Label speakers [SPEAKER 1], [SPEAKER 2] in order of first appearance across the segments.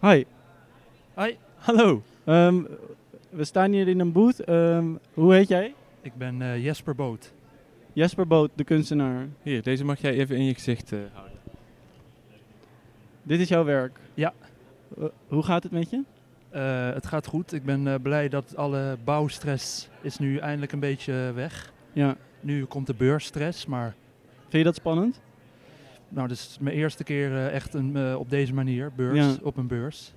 [SPEAKER 1] Hi.
[SPEAKER 2] Hoi,
[SPEAKER 1] Hallo. Ehm, we staan hier in een booth. Ehm, hoe heet jij?
[SPEAKER 2] ik ben eh, Jesper Boot.
[SPEAKER 1] Jasper Boot, de kunstenaar.
[SPEAKER 3] Hier, deze mag jij even in je gezicht eh, houden.
[SPEAKER 1] Dit is jouw werk.
[SPEAKER 2] Ja.
[SPEAKER 1] Eh, hoe gaat het met je?
[SPEAKER 2] Eh, het gaat goed. Ik ben eh, blij dat alle bouwstress is nu eindelijk een beetje eh, weg.
[SPEAKER 1] Ja.
[SPEAKER 2] Nu komt de beursstress, maar
[SPEAKER 1] Vind je dat spannend?
[SPEAKER 2] nou, dit is mijn eerste keer eh, echt een, eh, op deze manier, beurs,
[SPEAKER 1] Ja.
[SPEAKER 2] op een beurs.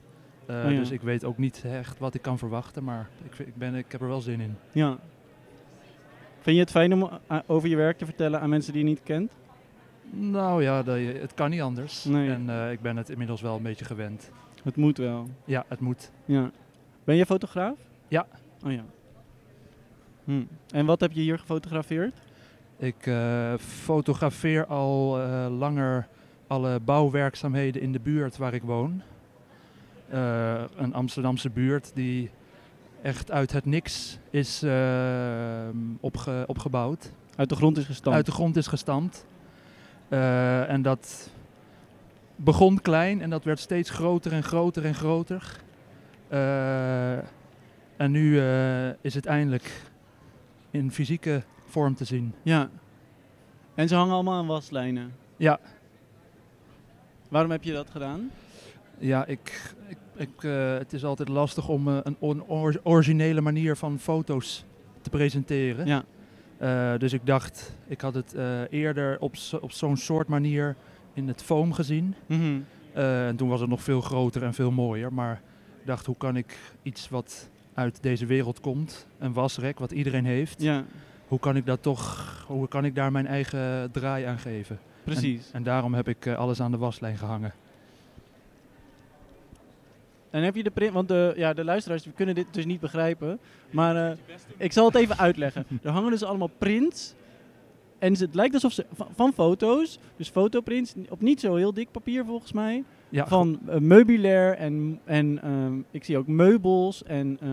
[SPEAKER 2] Eh,
[SPEAKER 1] Oh ja.
[SPEAKER 2] Dus ik weet ook niet echt wat ik kan verwachten, maar ik, ik, ben, ik heb er wel zin in.
[SPEAKER 1] Ja. Vind je het fijn om eh, over je werk te vertellen aan mensen die je niet kent?
[SPEAKER 2] Nou ja, dat je- het kan niet anders.
[SPEAKER 1] Nee.
[SPEAKER 2] En eh, ik ben het inmiddels wel een beetje gewend.
[SPEAKER 1] Het moet wel.
[SPEAKER 2] Ja, het moet.
[SPEAKER 1] Ja. Ben je fotograaf?
[SPEAKER 2] Ja.
[SPEAKER 1] Oh ja. Hm. En wat heb je hier gefotografeerd?
[SPEAKER 2] Ik eh, fotografeer al eh, langer alle bouwwerkzaamheden in de buurt waar ik woon. Eh, een Amsterdamse buurt die echt uit het niks is eh, opge- opgebouwd.
[SPEAKER 1] Uit de grond is gestampt.
[SPEAKER 2] Uit de grond is gestampt. Eh, en dat begon klein en dat werd steeds groter en groter en groter. Eh, en nu eh, is het eindelijk in fysieke vorm te zien.
[SPEAKER 1] Ja. En ze hangen allemaal aan waslijnen.
[SPEAKER 2] Ja.
[SPEAKER 1] Waarom heb je dat gedaan?
[SPEAKER 2] Ja, ik, ik, ik, eh, het is altijd lastig om eh, een on- or- originele manier van foto's te presenteren.
[SPEAKER 1] Ja.
[SPEAKER 2] Eh, dus ik dacht, ik had het eh, eerder op, zo- op zo'n soort manier in het foam gezien.
[SPEAKER 1] Mhm.
[SPEAKER 2] Eh, en toen was het nog veel groter en veel mooier. Maar ik dacht, hoe kan ik iets wat uit deze wereld komt, een wasrek wat iedereen heeft,
[SPEAKER 1] Ja,
[SPEAKER 2] hoe kan ik dat toch, hoe kan ik daar mijn eigen draai aan geven?
[SPEAKER 1] precies. En,
[SPEAKER 2] En daarom heb ik eh, alles aan de waslijn gehangen.
[SPEAKER 1] heb je de print, want de, ja, de luisteraars die kunnen dit dus niet begrijpen. Maar eh, ik zal het even uitleggen. Er hangen dus allemaal prints. En ze- het lijkt alsof ze van, van foto's, dus fotoprints, op niet zo heel dik papier volgens mij.
[SPEAKER 2] Ja,
[SPEAKER 1] van eh, meubilair en, en ehm, ik zie ook meubels. En eh,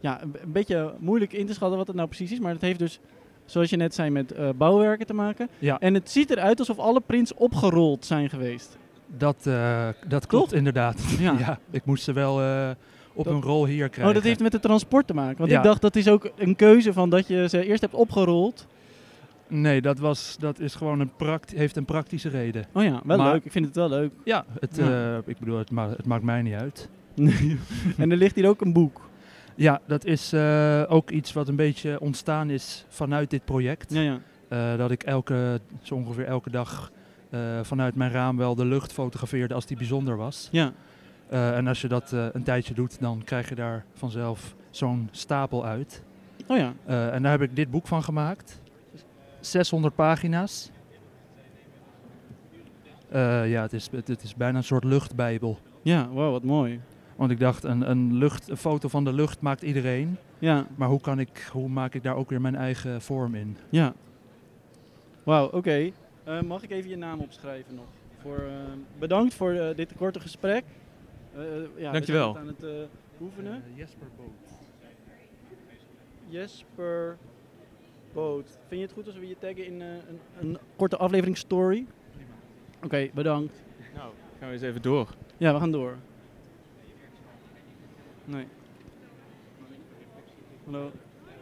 [SPEAKER 1] ja, een, een beetje moeilijk in te schatten wat het nou precies is. Maar het heeft dus, zoals je net zei, met eh, bouwwerken te maken.
[SPEAKER 2] Ja.
[SPEAKER 1] En het ziet eruit alsof alle prints opgerold zijn geweest.
[SPEAKER 2] Dat, eh, dat klopt inderdaad.
[SPEAKER 1] Ja.
[SPEAKER 2] Ja. ik moest ze wel eh, op
[SPEAKER 1] Dat-
[SPEAKER 2] een rol hier krijgen.
[SPEAKER 1] Oh, dat heeft met het transport te maken. Want
[SPEAKER 2] Ja.
[SPEAKER 1] ik dacht, dat is ook een keuze van dat je ze eerst hebt opgerold.
[SPEAKER 2] Nee, dat, was, dat is gewoon een pract heeft een praktische reden.
[SPEAKER 1] Oh ja, wel
[SPEAKER 2] Maar-
[SPEAKER 1] leuk. Ik vind het wel leuk.
[SPEAKER 2] Ja, het,
[SPEAKER 1] Ja.
[SPEAKER 2] eh, ik bedoel, het, ma- het maakt mij niet uit.
[SPEAKER 1] en er ligt hier ook een boek.
[SPEAKER 2] Ja, dat is eh, ook iets wat een beetje ontstaan is vanuit dit project.
[SPEAKER 1] Ja, ja.
[SPEAKER 2] Eh, dat ik elke, zo ongeveer elke dag eh, vanuit mijn raam wel de lucht fotografeerde als die bijzonder was.
[SPEAKER 1] Ja,
[SPEAKER 2] Eh, en als je dat eh, een tijdje doet, dan krijg je daar vanzelf zo'n stapel uit.
[SPEAKER 1] oh ja.
[SPEAKER 2] Eh, en daar heb ik dit boek van gemaakt. 600 pagina's. Eh, ja, het is, het, het is bijna een soort luchtbijbel.
[SPEAKER 1] Ja, wow, wat mooi.
[SPEAKER 2] Want ik dacht, een, een, lucht, een foto van de lucht maakt iedereen.
[SPEAKER 1] Ja,
[SPEAKER 2] Maar hoe, kan ik, hoe maak ik daar ook weer mijn eigen vorm in?
[SPEAKER 1] Ja. Wauw, oké. Eh, mag ik even je naam opschrijven nog? Voor, eh, bedankt voor eh, dit korte gesprek. Eh, ja, we zijn
[SPEAKER 3] Dankjewel.
[SPEAKER 1] het aan het eh, oefenen.
[SPEAKER 2] Jesper Boot.
[SPEAKER 1] Jesper Boot. Vind je het goed als we je taggen in eh, een, een korte aflevering story? Oké, bedankt.
[SPEAKER 3] Nou, gaan we eens even door.
[SPEAKER 1] Ja, we gaan door. Nee. Hallo.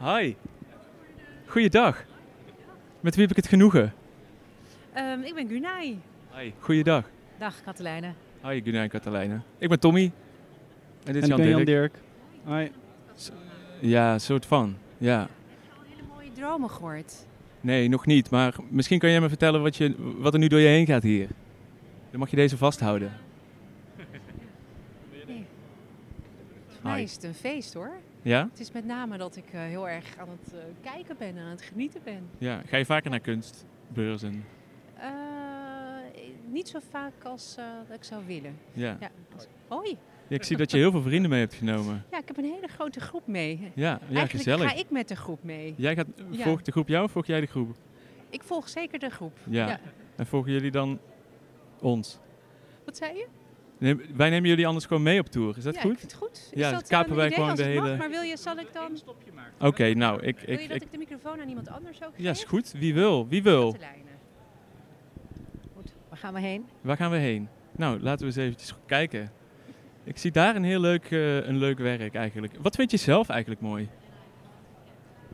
[SPEAKER 3] Hi. Goeiedag. Met wie heb ik het genoegen?
[SPEAKER 4] Ehm, ik ben Gunay.
[SPEAKER 3] Hi. Goeiedag.
[SPEAKER 4] Dag Katelijne.
[SPEAKER 3] Hi, Gunnar en Catalijne. Ik ben Tommy. En dit is
[SPEAKER 1] en ik
[SPEAKER 3] Jan
[SPEAKER 1] ben
[SPEAKER 3] Dirk.
[SPEAKER 1] Jan Dirk. Hi.
[SPEAKER 3] Ja, soort van. Ja.
[SPEAKER 4] Hele mooie dromen gehoord.
[SPEAKER 3] Nee, nog niet. Maar misschien kan jij me vertellen wat, je, wat er nu door je heen gaat hier. Dan mag je deze vasthouden.
[SPEAKER 4] Voor mij is het een feest hoor.
[SPEAKER 3] Ja?
[SPEAKER 4] Het is met name dat ik eh, heel erg aan het eh, kijken ben, aan het genieten ben.
[SPEAKER 3] Ja. Ga je vaker naar kunstbeurzen?
[SPEAKER 4] Eh, eh, niet zo vaak als eh, dat ik zou willen.
[SPEAKER 3] Ja.
[SPEAKER 4] Ja. Hoi.
[SPEAKER 3] Ja, Ik zie dat je heel veel vrienden mee hebt genomen.
[SPEAKER 4] Ja, ik heb een hele grote groep mee.
[SPEAKER 3] Ja, ja
[SPEAKER 4] Eigenlijk
[SPEAKER 3] gezellig.
[SPEAKER 4] ga ik met de groep mee.
[SPEAKER 3] Jij gaat,
[SPEAKER 4] Ja.
[SPEAKER 3] volgt de groep jou of volg jij de groep?
[SPEAKER 4] Ik volg zeker de groep.
[SPEAKER 3] Ja. En volgen jullie dan ons?
[SPEAKER 4] Wat zei je?
[SPEAKER 3] Neem- wij nemen jullie anders gewoon mee op tour, is dat
[SPEAKER 4] ja, ik
[SPEAKER 3] goed?
[SPEAKER 4] vind het goed.
[SPEAKER 3] Ja, dus
[SPEAKER 4] is dat
[SPEAKER 3] kapen
[SPEAKER 4] een
[SPEAKER 3] wij
[SPEAKER 4] idee
[SPEAKER 3] gewoon
[SPEAKER 4] als
[SPEAKER 3] de
[SPEAKER 4] het mag?
[SPEAKER 3] hele-
[SPEAKER 4] Maar wil je, zal ik dan... Wil
[SPEAKER 3] Oké, nou, ik, ik,
[SPEAKER 4] je dat
[SPEAKER 3] ik,
[SPEAKER 4] ik, de microfoon aan iemand anders ook geef?
[SPEAKER 3] Ja, is goed. Wie wil? Wie wil?
[SPEAKER 4] Katelijne. Goed, waar gaan we heen?
[SPEAKER 3] Waar gaan we heen? Nou, laten we eens eventjes goed kijken. Ik zie daar een heel leuk, eh, een leuk werk eigenlijk. Wat vind je zelf eigenlijk mooi?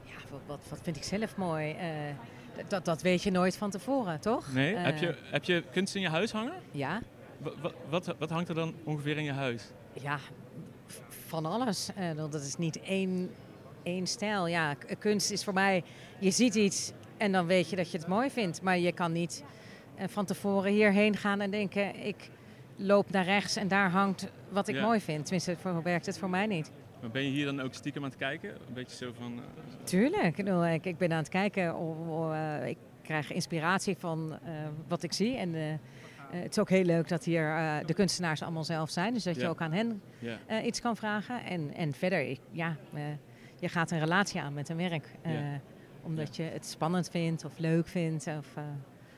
[SPEAKER 4] Ja, wat, wat, wat vind ik zelf mooi. eh, d- dat, dat weet je nooit van tevoren, toch?
[SPEAKER 3] Nee?
[SPEAKER 4] Eh,
[SPEAKER 3] heb, je, heb je kunst in je huis hangen?
[SPEAKER 4] Ja,
[SPEAKER 3] Wa- wa- wat, wat hangt er dan ongeveer in je huis?
[SPEAKER 4] ja v- van alles. Eh, want dat is niet één, één stijl. Ja, k- kunst is voor mij, je ziet iets en dan weet je dat je het mooi vindt. Maar je kan niet eh, van tevoren hierheen gaan en denken, ik loop naar rechts en daar hangt wat ik
[SPEAKER 3] Ja.
[SPEAKER 4] mooi vind. Tenminste, voor, werkt het voor mij niet.
[SPEAKER 3] Maar ben je hier dan ook stiekem aan het kijken? Een beetje zo van... eh,
[SPEAKER 4] Tuurlijk. Ik, bedoel, ik, ik ben aan het kijken. Of, of, eh, ik krijg inspiratie van eh, wat ik zie. En eh, eh, het is ook heel leuk dat hier eh, de kunstenaars allemaal zelf zijn. Dus dat je
[SPEAKER 3] Ja.
[SPEAKER 4] ook aan hen
[SPEAKER 3] ja.
[SPEAKER 4] eh, iets kan vragen. En, en verder, ik- ja, eh, je gaat een relatie aan met een werk. eh,
[SPEAKER 3] Ja.
[SPEAKER 4] Omdat je het spannend vindt of leuk vindt. Of, eh,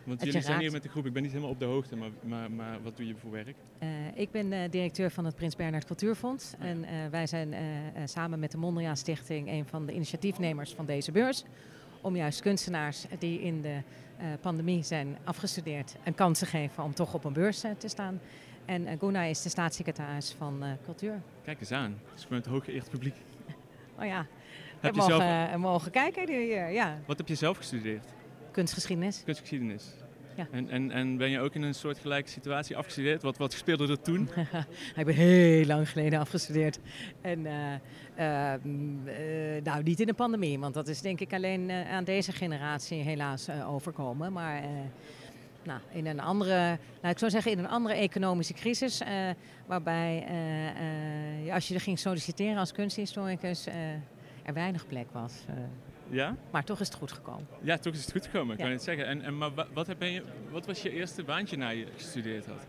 [SPEAKER 3] Want
[SPEAKER 4] je
[SPEAKER 3] jullie zijn hier
[SPEAKER 4] raakt.
[SPEAKER 3] met de groep. Ik ben niet helemaal op de hoogte, maar, maar, maar wat doe je voor werk?
[SPEAKER 4] Eh, ik ben eh, directeur van het Prins Bernhard Cultuurfonds.
[SPEAKER 3] ja.
[SPEAKER 4] En eh, wij zijn eh, eh, samen met de Mondriaan Stichting een van de initiatiefnemers van deze beurs. Om juist kunstenaars die in de eh, pandemie zijn afgestudeerd een kans te geven om toch op een beurs eh, te staan. En eh, Guna is de staatssecretaris van eh, Cultuur.
[SPEAKER 3] Kijk eens aan. Het is gewoon het hooggeëerd publiek.
[SPEAKER 4] Oh ja,
[SPEAKER 3] Heb
[SPEAKER 4] we
[SPEAKER 3] je
[SPEAKER 4] mogen,
[SPEAKER 3] zelf,
[SPEAKER 4] eh, mogen kijken hier. Ja,
[SPEAKER 3] wat heb je zelf gestudeerd?
[SPEAKER 4] kunstgeschiedenis.
[SPEAKER 3] Kunstgeschiedenis.
[SPEAKER 4] Ja.
[SPEAKER 3] En, en, en ben je ook in een soortgelijke situatie afgestudeerd? Wat, wat speelde er toen?
[SPEAKER 4] ik ben heel lang geleden afgestudeerd. En eh, eh, mm, eh, nou, niet in de pandemie, want dat is denk ik alleen eh, aan deze generatie helaas eh, overkomen. Maar eh, nou, in een andere, nou, ik zou zeggen in een andere economische crisis, eh, waarbij eh, eh, ja, als je er ging solliciteren als kunsthistoricus, eh, er weinig plek was. Eh,
[SPEAKER 3] Ja?
[SPEAKER 4] maar toch is het goed gekomen.
[SPEAKER 3] Ja, toch is het goed gekomen, ik
[SPEAKER 4] Ja.
[SPEAKER 3] kan het zeggen. En, en, maar wa- wat, heb je, wat was je eerste baantje na je gestudeerd had?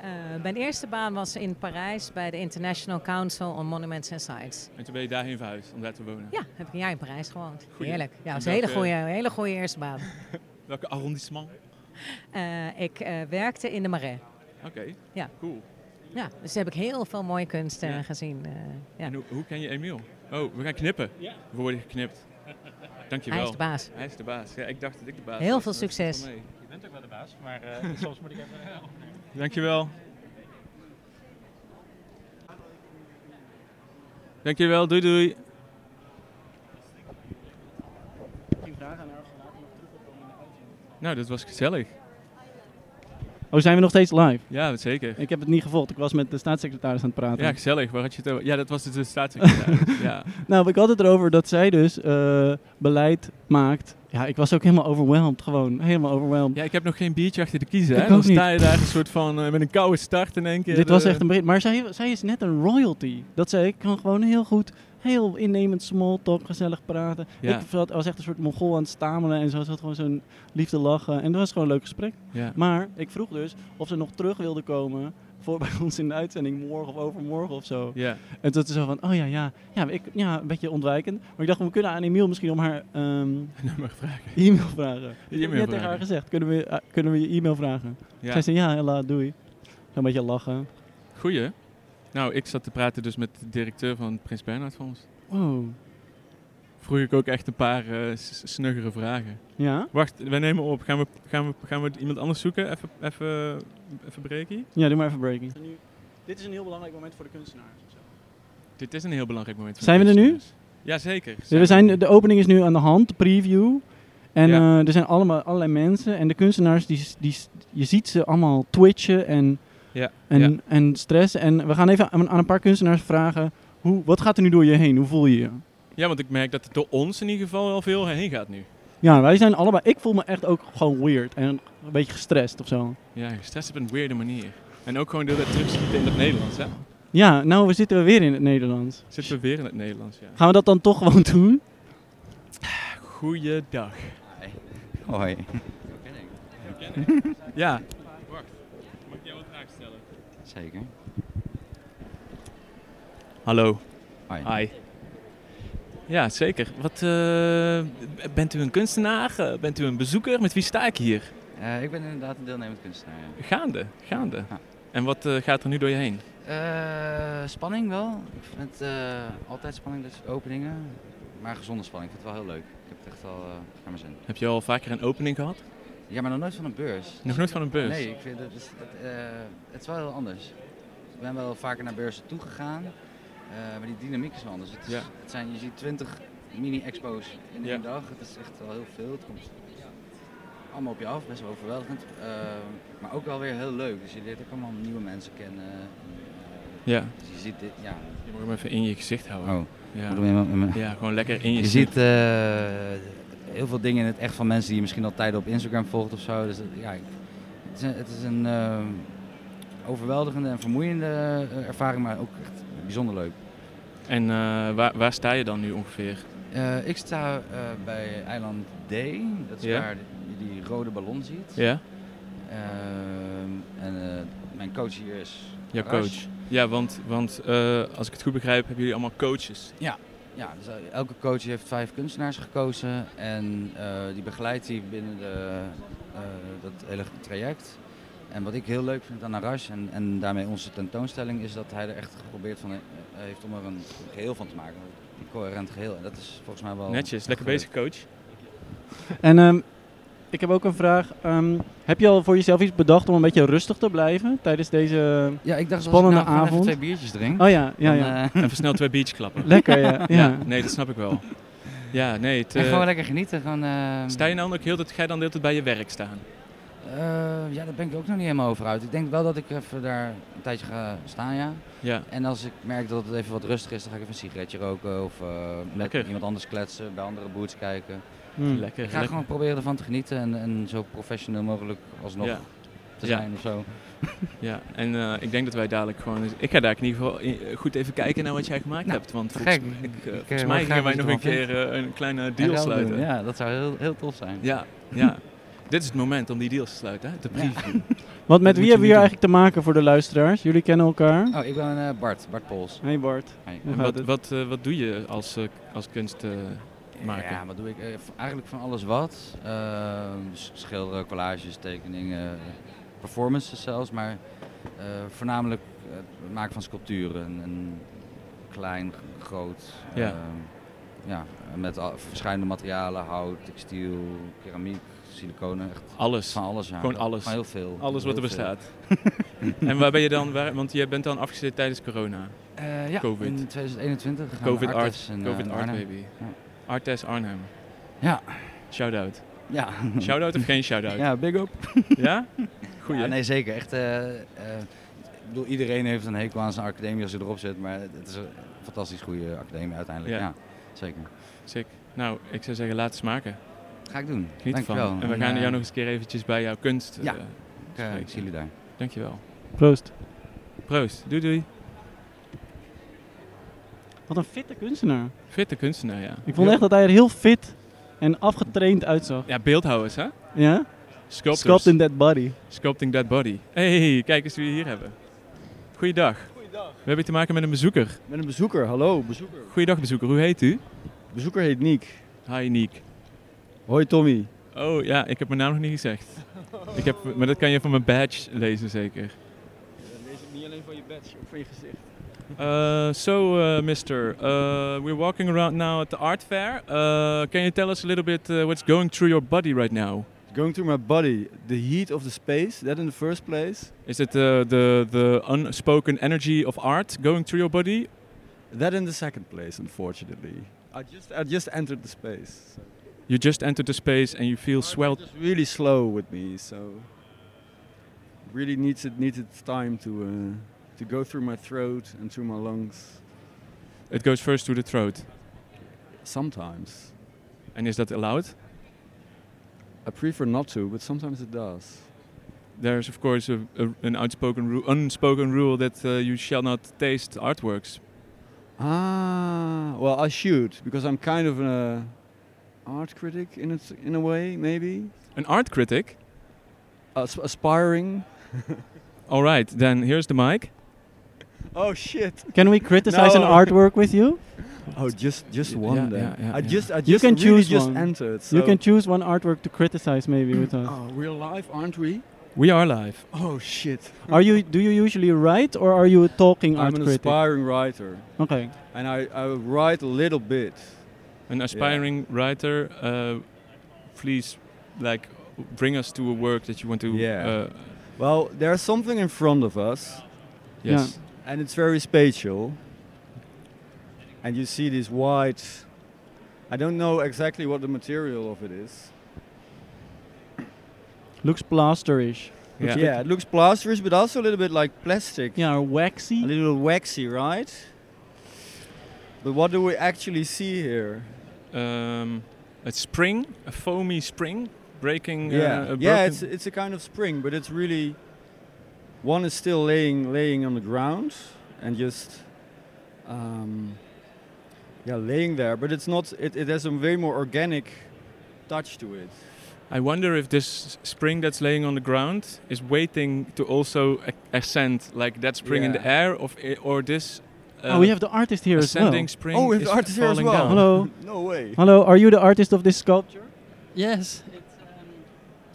[SPEAKER 4] Eh, mijn eerste baan was in Parijs bij de International Council on Monuments and Sites.
[SPEAKER 3] En toen ben je daarheen verhuisd om daar te wonen?
[SPEAKER 4] Ja, heb ik een jaar in Parijs gewoond.
[SPEAKER 3] Goeie.
[SPEAKER 4] Heerlijk. Ja, dat was
[SPEAKER 3] En eh,
[SPEAKER 4] een hele
[SPEAKER 3] welke-
[SPEAKER 4] goede, hele goede eerste baan.
[SPEAKER 3] Welke arrondissement?
[SPEAKER 4] Eh, ik eh, werkte in de Marais.
[SPEAKER 3] Oké,
[SPEAKER 4] Ja.
[SPEAKER 3] cool.
[SPEAKER 4] Ja, dus heb ik heel veel mooie kunsten
[SPEAKER 3] Ja.
[SPEAKER 4] gezien. eh, ja.
[SPEAKER 3] En hoe, hoe ken je Emiel? Oh, we gaan knippen. We worden geknipt. Dankjewel.
[SPEAKER 4] Hij is de baas.
[SPEAKER 3] Hij is de baas. Ja, ik dacht dat ik de baas
[SPEAKER 4] Heel
[SPEAKER 3] was,
[SPEAKER 4] veel
[SPEAKER 3] maar dat valt
[SPEAKER 4] succes.
[SPEAKER 3] wel
[SPEAKER 5] Je bent ook wel de baas, maar eh, soms moet ik even...
[SPEAKER 3] mee. Dankjewel. Dankjewel, doei doei. Nou, dat was gezellig.
[SPEAKER 1] Oh, zijn we nog steeds live?
[SPEAKER 3] Ja, zeker.
[SPEAKER 1] Ik heb het niet gevolgd. Ik was met de staatssecretaris aan het praten.
[SPEAKER 3] Ja, gezellig. Waar had je het over? Ja, dat was dus de staatssecretaris. ja.
[SPEAKER 1] Nou, ik had het erover dat zij dus eh, beleid maakt. Ja, ik was ook helemaal overwhelmed. Gewoon helemaal overwhelmed.
[SPEAKER 3] ja, ik heb nog geen biertje achter de kiezen. Hè?
[SPEAKER 1] Ik
[SPEAKER 3] Dan
[SPEAKER 1] ook
[SPEAKER 3] sta je daar een soort van eh, met een koude start in één keer.
[SPEAKER 1] Dit was
[SPEAKER 3] eh,
[SPEAKER 1] echt een begin. Maar zij, zij is net een royalty. Dat zij kan gewoon heel goed, heel innemend small talk, gezellig praten.
[SPEAKER 3] Ja.
[SPEAKER 1] Ik zat- was echt een soort mongool aan het stamelen en zo. Ze had gewoon zo'n liefde lachen. En dat was gewoon een leuk gesprek.
[SPEAKER 3] Ja.
[SPEAKER 1] Maar ik vroeg dus of ze nog terug wilde komen voor bij ons in de uitzending morgen of overmorgen of zo.
[SPEAKER 3] Ja.
[SPEAKER 1] En toen ze zo van, oh ja, ja, ja, ik, ja, een beetje ontwijkend. Maar ik dacht, we kunnen aan Emiel misschien om haar ehm,
[SPEAKER 3] nummer vragen.
[SPEAKER 1] e-mail vragen. Dus ik heb
[SPEAKER 3] E-mail
[SPEAKER 1] net tegen
[SPEAKER 3] vragen.
[SPEAKER 1] haar gezegd, kunnen we, eh, kunnen we je e-mail vragen?
[SPEAKER 3] Ja.
[SPEAKER 1] Zij zei, ja, hela, doei. Een beetje lachen.
[SPEAKER 3] Goeie. Nou, ik zat te praten dus met de directeur van het Prins Bernhard Fonds.
[SPEAKER 1] Wow.
[SPEAKER 3] Vroeg ik ook echt een paar eh, s- snuggere vragen.
[SPEAKER 1] Ja?
[SPEAKER 3] Wacht, wij nemen op. Gaan we, gaan we, gaan we iemand anders zoeken? Even, even, even breken?
[SPEAKER 1] Ja, doe maar even breaking. Dit is een heel belangrijk moment voor de kunstenaars.
[SPEAKER 3] Dit is een heel belangrijk moment. voor
[SPEAKER 1] Zijn we er nu?
[SPEAKER 3] kunstenaars. Jazeker.
[SPEAKER 1] we zijn, de opening is nu aan de hand, de preview. En
[SPEAKER 3] Ja.
[SPEAKER 1] eh, er zijn allemaal allerlei mensen. En de kunstenaars, die, s- die, s- je ziet ze allemaal twitchen en,
[SPEAKER 3] Ja,
[SPEAKER 1] en,
[SPEAKER 3] ja.
[SPEAKER 1] en stressen. En we gaan even aan, aan een paar kunstenaars vragen, hoe, wat gaat er nu door je heen? Hoe voel je je?
[SPEAKER 3] ja, want ik merk dat het door ons in ieder geval wel veel heen gaat nu.
[SPEAKER 1] Ja, wij zijn allebei. Ik voel me echt ook gewoon weird en een beetje gestrest of zo.
[SPEAKER 3] Ja, gestrest op een weirde manier. En ook gewoon door dat terugschieten in het Nederlands, hè?
[SPEAKER 1] Ja, nou, we zitten weer in het Nederlands.
[SPEAKER 3] Zitten we weer in het Nederlands, ja.
[SPEAKER 1] Gaan we dat dan toch gewoon doen?
[SPEAKER 3] Goeiedag.
[SPEAKER 5] Hoi.
[SPEAKER 3] Ja. Wacht, mag ik jou wat vragen stellen?
[SPEAKER 5] Zeker.
[SPEAKER 3] Hallo.
[SPEAKER 5] Hoi.
[SPEAKER 3] Hi. Ja, zeker. Wat, eh, bent u een kunstenaar? Eh, Bent u een bezoeker? Met wie sta ik hier?
[SPEAKER 5] Eh, ik ben inderdaad een deelnemend kunstenaar. ja.
[SPEAKER 3] Gaande, gaande.
[SPEAKER 5] Ja.
[SPEAKER 3] En wat eh, gaat er nu door je heen?
[SPEAKER 5] Eh, spanning wel. Ik vind het eh, altijd spanning, dit soort openingen. Maar gezonde spanning. Ik vind het wel heel leuk. Ik heb het echt al eh naar mijn zin.
[SPEAKER 3] Heb je al vaker een opening gehad?
[SPEAKER 5] Ja, maar nog nooit van een beurs.
[SPEAKER 3] Nog nooit van een beurs?
[SPEAKER 5] Nee, ik vind het, het, eh, het is wel heel anders. ben wel vaker naar beurzen toegegaan. eh, maar die dynamiek is wel anders. Het is,
[SPEAKER 3] Ja.
[SPEAKER 5] het zijn, je ziet 20 mini-expo's in één
[SPEAKER 3] Ja.
[SPEAKER 5] dag. Het is echt wel heel veel. Het komt allemaal op je af, best wel overweldigend. eh, maar ook wel weer heel leuk. Dus je leert ook allemaal nieuwe mensen kennen. En, eh,
[SPEAKER 3] Ja,
[SPEAKER 5] dus je ziet dit, ja. Oh.
[SPEAKER 3] je moet hem even in je gezicht houden. Ja. ja, gewoon lekker in je,
[SPEAKER 5] Je
[SPEAKER 3] gezicht.
[SPEAKER 5] ziet eh, heel veel dingen in het echt van mensen die je misschien al tijden op Instagram volgt of zo. Dus eh, ja, ik- het is een, het is een eh, overweldigende en vermoeiende eh, ervaring, maar ook echt bijzonder leuk.
[SPEAKER 3] En eh, waar, waar sta je dan nu ongeveer?
[SPEAKER 5] Eh, ik sta eh, bij eiland D, dat is
[SPEAKER 3] Ja.
[SPEAKER 5] waar je die rode ballon ziet.
[SPEAKER 3] Ja,
[SPEAKER 5] Ehm, en eh, mijn coach hier is
[SPEAKER 3] jouw
[SPEAKER 5] Ras.
[SPEAKER 3] coach. Ja, want, want eh, als ik het goed begrijp, hebben jullie allemaal coaches.
[SPEAKER 5] Ja, dus eh, elke coach heeft vijf kunstenaars gekozen en eh, die begeleidt hij binnen de, eh, dat hele traject. En wat ik heel leuk vind aan Arash en, en daarmee onze tentoonstelling is dat hij er echt geprobeerd van eh, heeft om er een geheel van te maken. Een coherent geheel. En dat is volgens mij wel...
[SPEAKER 3] Netjes, lekker
[SPEAKER 5] gelukt.
[SPEAKER 3] bezig coach.
[SPEAKER 1] En ehm, ik heb ook een vraag. Ehm, heb je al voor jezelf iets bedacht om een beetje rustig te blijven tijdens deze...
[SPEAKER 5] Ja, ik dacht
[SPEAKER 1] Spannende
[SPEAKER 5] als ik nou gewoon
[SPEAKER 1] avond.
[SPEAKER 5] even twee biertjes drink.
[SPEAKER 1] Oh ja, ja, ja.
[SPEAKER 5] dan, eh,
[SPEAKER 3] Even snel twee beach klappen.
[SPEAKER 1] Lekker, ja. ja.
[SPEAKER 3] Ja, nee, dat snap ik wel. Ja, nee, het,
[SPEAKER 5] en
[SPEAKER 3] eh,
[SPEAKER 5] gewoon lekker genieten. Gewoon, eh,
[SPEAKER 3] sta je nou ook heel dat ga je dan de hele tijd bij je werk staan?
[SPEAKER 5] eh, ja, daar ben ik ook nog niet helemaal over uit. Ik denk wel dat ik even daar een tijdje ga staan, ja.
[SPEAKER 3] Ja,
[SPEAKER 5] En als ik merk dat het even wat rustig is, dan ga ik even een sigaretje roken of eh, met
[SPEAKER 3] Lekker. Hmm.
[SPEAKER 5] iemand anders kletsen, bij andere boots kijken.
[SPEAKER 1] Hm.
[SPEAKER 3] lekker.
[SPEAKER 5] Ik ga
[SPEAKER 3] lekker.
[SPEAKER 5] gewoon proberen ervan te genieten en, en zo professioneel mogelijk alsnog
[SPEAKER 3] Ja.
[SPEAKER 5] te
[SPEAKER 3] Ja.
[SPEAKER 5] zijn of zo.
[SPEAKER 3] Ja, en eh, ik denk dat wij dadelijk gewoon... eens- Ik ga daar in ieder geval i- goed even kijken naar wat jij gemaakt hebt. Want volgens,
[SPEAKER 5] Nou,
[SPEAKER 3] ik,
[SPEAKER 5] gek.
[SPEAKER 3] eh,
[SPEAKER 5] Ik, eh,
[SPEAKER 3] volgens
[SPEAKER 5] hoor
[SPEAKER 3] mij
[SPEAKER 5] graag
[SPEAKER 3] gaan wij
[SPEAKER 5] wat je
[SPEAKER 3] nog een
[SPEAKER 5] ervan
[SPEAKER 3] keer eh, een kleine
[SPEAKER 5] En
[SPEAKER 3] deal
[SPEAKER 5] wel doen,
[SPEAKER 3] sluiten. Ja,
[SPEAKER 5] Ja, dat zou heel, heel tof zijn.
[SPEAKER 3] ja. Dit is het moment om die deals te sluiten, hè? De
[SPEAKER 5] Ja.
[SPEAKER 3] preview.
[SPEAKER 1] Want
[SPEAKER 3] moet
[SPEAKER 1] met wie
[SPEAKER 3] je
[SPEAKER 1] hebben we hier
[SPEAKER 3] niet
[SPEAKER 1] eigenlijk te maken voor de luisteraars? Jullie kennen elkaar.
[SPEAKER 5] Oh, ik ben eh, Bart, Bart Pols.
[SPEAKER 1] Hey Bart.
[SPEAKER 5] Hi.
[SPEAKER 1] Hoe
[SPEAKER 3] En
[SPEAKER 1] gaat
[SPEAKER 3] wat,
[SPEAKER 1] het?
[SPEAKER 3] wat, eh, wat doe je als, eh, als kunst... eh, Maken.
[SPEAKER 5] Ja, wat doe ik? Eh, v- eigenlijk van alles wat. Eh, s- schilderen, collages, tekeningen, performances zelfs, maar eh, voornamelijk eh, het maken van sculpturen. En, en klein, g- groot.
[SPEAKER 3] Ja.
[SPEAKER 5] eh, ja, en met al- verschillende materialen, hout, textiel, keramiek, siliconen, echt
[SPEAKER 3] alles.
[SPEAKER 5] van alles. Ja.
[SPEAKER 3] Gewoon alles.
[SPEAKER 5] Van heel veel.
[SPEAKER 3] Alles
[SPEAKER 5] Heel
[SPEAKER 3] wat er
[SPEAKER 5] veel.
[SPEAKER 3] bestaat. en waar ben je dan? Waar, want je bent dan afgestudeerd tijdens corona.
[SPEAKER 5] Eh, ja,
[SPEAKER 3] Covid.
[SPEAKER 5] in 2021 gaan we
[SPEAKER 3] Covid
[SPEAKER 5] naar
[SPEAKER 3] art.
[SPEAKER 5] Artes in, eh,
[SPEAKER 3] COVID
[SPEAKER 5] in
[SPEAKER 3] Art
[SPEAKER 5] Arnhem.
[SPEAKER 3] Baby.
[SPEAKER 5] Ja.
[SPEAKER 3] Artes Arnhem.
[SPEAKER 5] Ja.
[SPEAKER 3] Shout-out.
[SPEAKER 5] Ja.
[SPEAKER 3] Shout-out of geen shout-out? Ja?
[SPEAKER 5] ja, big up.
[SPEAKER 3] Goeie.
[SPEAKER 5] Ja,
[SPEAKER 3] hè?
[SPEAKER 5] nee, zeker. Echt, eh, eh, ik bedoel, iedereen heeft een hekel aan zijn academie als hij erop zit, maar het is een fantastisch goede academie uiteindelijk.
[SPEAKER 3] Ja.
[SPEAKER 5] Ja, zeker.
[SPEAKER 3] Sick. Nou, ik zou zeggen, laat het smaken.
[SPEAKER 5] Ga ik doen.
[SPEAKER 3] Geniet
[SPEAKER 5] Dankjewel.
[SPEAKER 3] ervan. En we gaan
[SPEAKER 5] eh,
[SPEAKER 3] jou nog eens een keer eventjes bij jouw kunst
[SPEAKER 5] Ja.
[SPEAKER 3] eh,
[SPEAKER 5] Ik, eh, ik zie jullie daar.
[SPEAKER 3] Dankjewel.
[SPEAKER 1] Proost.
[SPEAKER 3] Proost. Doei doei.
[SPEAKER 1] Wat een fitte kunstenaar.
[SPEAKER 3] Fitte kunstenaar, ja.
[SPEAKER 1] Ik vond echt dat hij er heel fit en afgetraind uitzag.
[SPEAKER 3] Ja, beeldhouwers, hè?
[SPEAKER 1] Ja?
[SPEAKER 3] Sculptors.
[SPEAKER 1] Sculpt in that body.
[SPEAKER 3] Sculpting Dead Body. hey, kijk eens wie we hier hebben. Goeiedag. We hebben te maken met een bezoeker.
[SPEAKER 6] Ik ben een bezoeker, hallo bezoeker.
[SPEAKER 3] Goeiedag bezoeker, hoe heet u?
[SPEAKER 6] Bezoeker heet Niek.
[SPEAKER 3] Hi Niek.
[SPEAKER 6] Hoi Tommy.
[SPEAKER 3] Oh ja, ik heb mijn naam nog niet gezegd. Ik heb, maar dat kan je van mijn badge lezen zeker.
[SPEAKER 6] Lees het niet alleen van je badge, ook van je gezicht.
[SPEAKER 3] Uh, so, uh, Mister, uh, we're walking around now at the art fair. Uh, can you tell us a little bit uh, what's going through your body right now?
[SPEAKER 6] Going through my body, the heat of the space, that in the first place.
[SPEAKER 3] Is it uh, the the unspoken energy of art going through your body?
[SPEAKER 6] That in the second place, unfortunately. I just, I just entered the space. so-
[SPEAKER 3] You just entered the space and you feel swelled.
[SPEAKER 6] It's really slow with me, so really needs it needs its time to uh, to go through my throat and through my lungs.
[SPEAKER 3] It goes first to the throat.
[SPEAKER 6] Sometimes
[SPEAKER 3] And is that allowed?
[SPEAKER 6] I prefer not to, but sometimes it does.
[SPEAKER 3] There's of course a, a, an outspoken ru- unspoken rule that uh, you shall not taste artworks.
[SPEAKER 6] Ah, well, I should because I'm kind of a art critic in a, in a way, maybe
[SPEAKER 3] An art critic.
[SPEAKER 6] As- aspiring.
[SPEAKER 3] All right, then here's the mic.
[SPEAKER 6] Oh shit!
[SPEAKER 1] Can we criticize
[SPEAKER 3] Nou.
[SPEAKER 6] No.
[SPEAKER 1] an artwork with you?
[SPEAKER 6] Oh, just just
[SPEAKER 3] Yeah,
[SPEAKER 6] one
[SPEAKER 3] yeah,
[SPEAKER 6] then.
[SPEAKER 3] yeah, yeah,
[SPEAKER 6] I
[SPEAKER 3] yeah.
[SPEAKER 6] just I just
[SPEAKER 1] can
[SPEAKER 6] really
[SPEAKER 1] choose
[SPEAKER 6] just
[SPEAKER 1] one.
[SPEAKER 6] entered. So
[SPEAKER 1] You can choose one artwork to criticize maybe with us.
[SPEAKER 6] Oh, we're live, aren't we?
[SPEAKER 3] We are live.
[SPEAKER 6] Oh shit!
[SPEAKER 1] Are you, do you usually write or are you a talking
[SPEAKER 6] I'm
[SPEAKER 1] art
[SPEAKER 6] an
[SPEAKER 1] critic?
[SPEAKER 6] aspiring writer,
[SPEAKER 1] Okay.
[SPEAKER 6] and I I write a little bit.
[SPEAKER 3] An aspiring writer, uh, please, like, bring us to a work that you want to.
[SPEAKER 6] Yeah.
[SPEAKER 3] Uh,
[SPEAKER 6] Well, there's something in front of us,
[SPEAKER 3] yes.
[SPEAKER 7] and it's very spatial. And you see this white. I don't know exactly what the material of it is.
[SPEAKER 1] Looks plasterish.
[SPEAKER 7] Yeah,
[SPEAKER 3] Yeah.
[SPEAKER 7] it looks plasterish, but also a little bit like plastic.
[SPEAKER 1] Ja, waxy.
[SPEAKER 7] A little waxy, right? But what do we actually see here?
[SPEAKER 3] Um, a spring, a foamy spring, breaking.
[SPEAKER 7] yeah,
[SPEAKER 3] Uh, a
[SPEAKER 7] yeah,
[SPEAKER 3] broken-
[SPEAKER 7] it's it's a kind of spring, but it's really one is still laying laying on the ground and just um, yeah laying there, but it's not. It, it has a way more organic touch to it.
[SPEAKER 3] I wonder if this spring that's laying on the ground is waiting to also a- ascend, like that spring in
[SPEAKER 7] Yeah.
[SPEAKER 3] the air, of i- or this. uh,
[SPEAKER 1] oh, we have the artist here as well.
[SPEAKER 3] ascending spring.
[SPEAKER 7] Oh, we have
[SPEAKER 3] is
[SPEAKER 7] the artist here as
[SPEAKER 3] falling
[SPEAKER 7] well.
[SPEAKER 3] down.
[SPEAKER 1] Hello.
[SPEAKER 7] No way.
[SPEAKER 1] Hello, are you the artist of this sculpture?
[SPEAKER 8] Yes, it's um,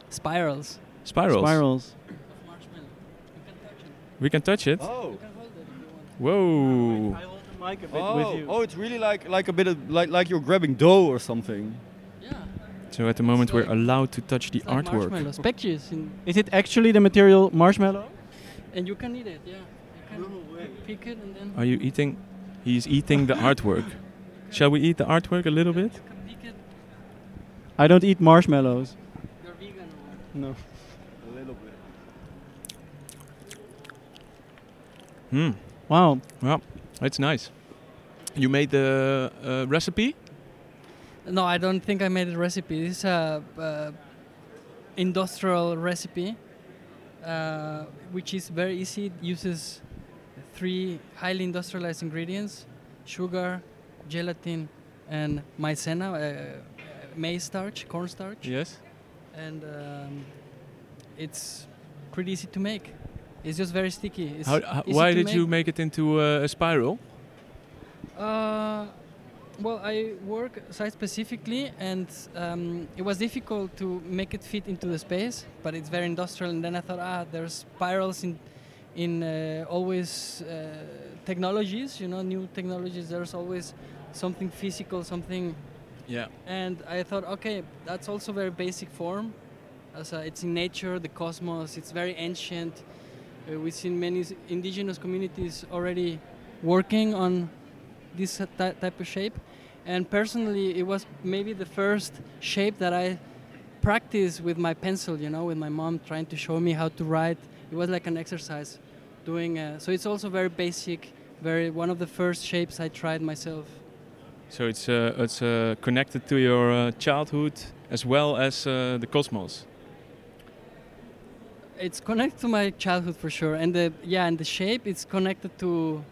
[SPEAKER 8] spirals
[SPEAKER 3] Spirals.
[SPEAKER 1] Spirals.
[SPEAKER 8] of marshmallow. You can touch it.
[SPEAKER 3] We can touch it.
[SPEAKER 7] Oh,
[SPEAKER 8] You can hold it if you want.
[SPEAKER 3] Whoa.
[SPEAKER 1] I hold the mic a bit with
[SPEAKER 7] oh,
[SPEAKER 1] you.
[SPEAKER 7] oh, it's really like like a bit of like like you're grabbing dough or something.
[SPEAKER 8] Yeah.
[SPEAKER 3] So at the moment we're
[SPEAKER 8] like-
[SPEAKER 3] allowed to touch the
[SPEAKER 8] it's like
[SPEAKER 3] artwork.
[SPEAKER 8] Marshmallow species, in,
[SPEAKER 1] Is it actually the material marshmallow?
[SPEAKER 8] and you can eat it. Yeah. You can pick it and then.
[SPEAKER 3] Are you eating? He's eating the artwork. Shall we eat the artwork a little bit?
[SPEAKER 8] You can pick it.
[SPEAKER 1] I don't eat marshmallows.
[SPEAKER 8] You're vegan. Or
[SPEAKER 1] No.
[SPEAKER 7] A little bit.
[SPEAKER 3] Hmm.
[SPEAKER 1] Wow.
[SPEAKER 3] It's nice. You made the uh, recipe.
[SPEAKER 8] no, I don't think I made a recipe. This is a uh, industrial recipe, uh, which is very easy. It uses three highly industrialized ingredients: sugar, gelatin, and maizena, uh, maize starch, corn starch.
[SPEAKER 3] Yes.
[SPEAKER 8] and um, it's pretty easy to make. It's just very sticky. It's
[SPEAKER 3] How, how,
[SPEAKER 8] easy
[SPEAKER 3] why
[SPEAKER 8] to
[SPEAKER 3] did
[SPEAKER 8] make.
[SPEAKER 3] you make it into uh, a spiral?
[SPEAKER 8] Uh, well, I work site specifically, and um, it was difficult to make it fit into the space. But it's very industrial, and then I thought, ah, there's spirals in in uh, always uh, technologies. You know, new technologies. There's always something physical, something
[SPEAKER 3] Yeah.
[SPEAKER 8] and I thought, okay, that's also very basic form. As, uh, it's in nature, the cosmos. It's very ancient. Uh, we've seen many s- indigenous communities already working on this uh, ty- type of shape. And personally, it was maybe the first shape that I practiced with my pencil. You know, with my mom trying to show me how to write. It was like an exercise, doing. Uh, so it's also very basic. Very one of the first shapes I tried myself.
[SPEAKER 3] So it's uh, it's uh, connected to your uh, childhood as well as uh, the cosmos.
[SPEAKER 8] It's connected to my childhood for sure, and the yeah, and the shape it's connected to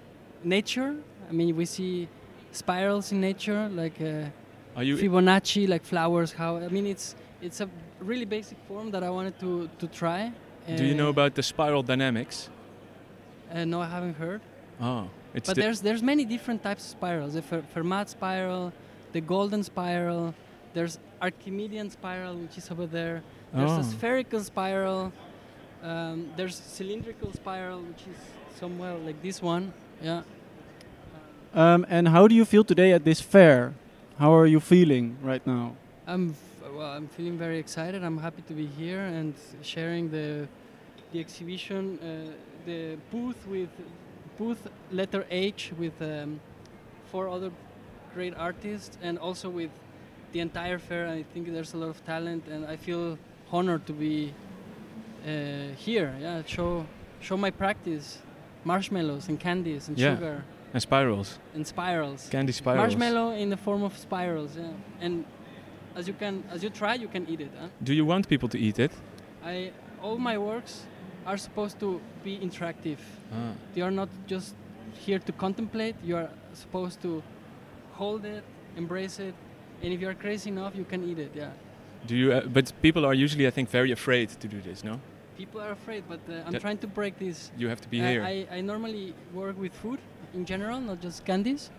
[SPEAKER 8] nature. I mean, we see spirals in nature, like uh,
[SPEAKER 3] Are you?
[SPEAKER 8] Fibonacci, like flowers. How I mean, it's it's a really basic form that I wanted to to try.
[SPEAKER 3] do you know
[SPEAKER 8] Uh,
[SPEAKER 3] about the spiral dynamics?
[SPEAKER 8] Uh, no, I haven't heard.
[SPEAKER 3] Oh, it's
[SPEAKER 8] but
[SPEAKER 3] the-
[SPEAKER 8] there's there's many different types of spirals. The Fer- Fermat spiral, the golden spiral. There's Archimedean spiral, which is over there. There's
[SPEAKER 3] Oh.
[SPEAKER 8] a spherical spiral. Um, there's cylindrical spiral, which is somewhere like this one. Yeah.
[SPEAKER 1] Um, and how do you feel today at this fair? How are you feeling right now?
[SPEAKER 8] I'm f- well, I'm feeling very excited. I'm happy to be here and sharing the the exhibition, uh, the booth with booth letter H with um, four other great artists and also with the entire fair. I think there's a lot of talent, and I feel honored to be uh, here. Yeah, show show my practice, marshmallows and candies and
[SPEAKER 3] Yeah.
[SPEAKER 8] sugar
[SPEAKER 3] and spirals,
[SPEAKER 8] and spirals.
[SPEAKER 3] candy spirals.
[SPEAKER 8] Marshmallow in the form of spirals, yeah. And as you can, as you try, you can eat it. Huh?
[SPEAKER 3] Do you want people to eat it?
[SPEAKER 8] I all my works are supposed to be interactive.
[SPEAKER 3] Ah.
[SPEAKER 8] They are not just here to contemplate. You are supposed to hold it, embrace it, and if you are crazy enough, you can eat it. Yeah.
[SPEAKER 3] Do you? Uh, but people are usually, I think, very afraid to do this. No,
[SPEAKER 8] People are afraid, but uh, I'm
[SPEAKER 3] That-
[SPEAKER 8] trying to break this.
[SPEAKER 3] you have to be
[SPEAKER 8] Uh,
[SPEAKER 3] here.
[SPEAKER 8] I, I normally work with food in general, not just candies,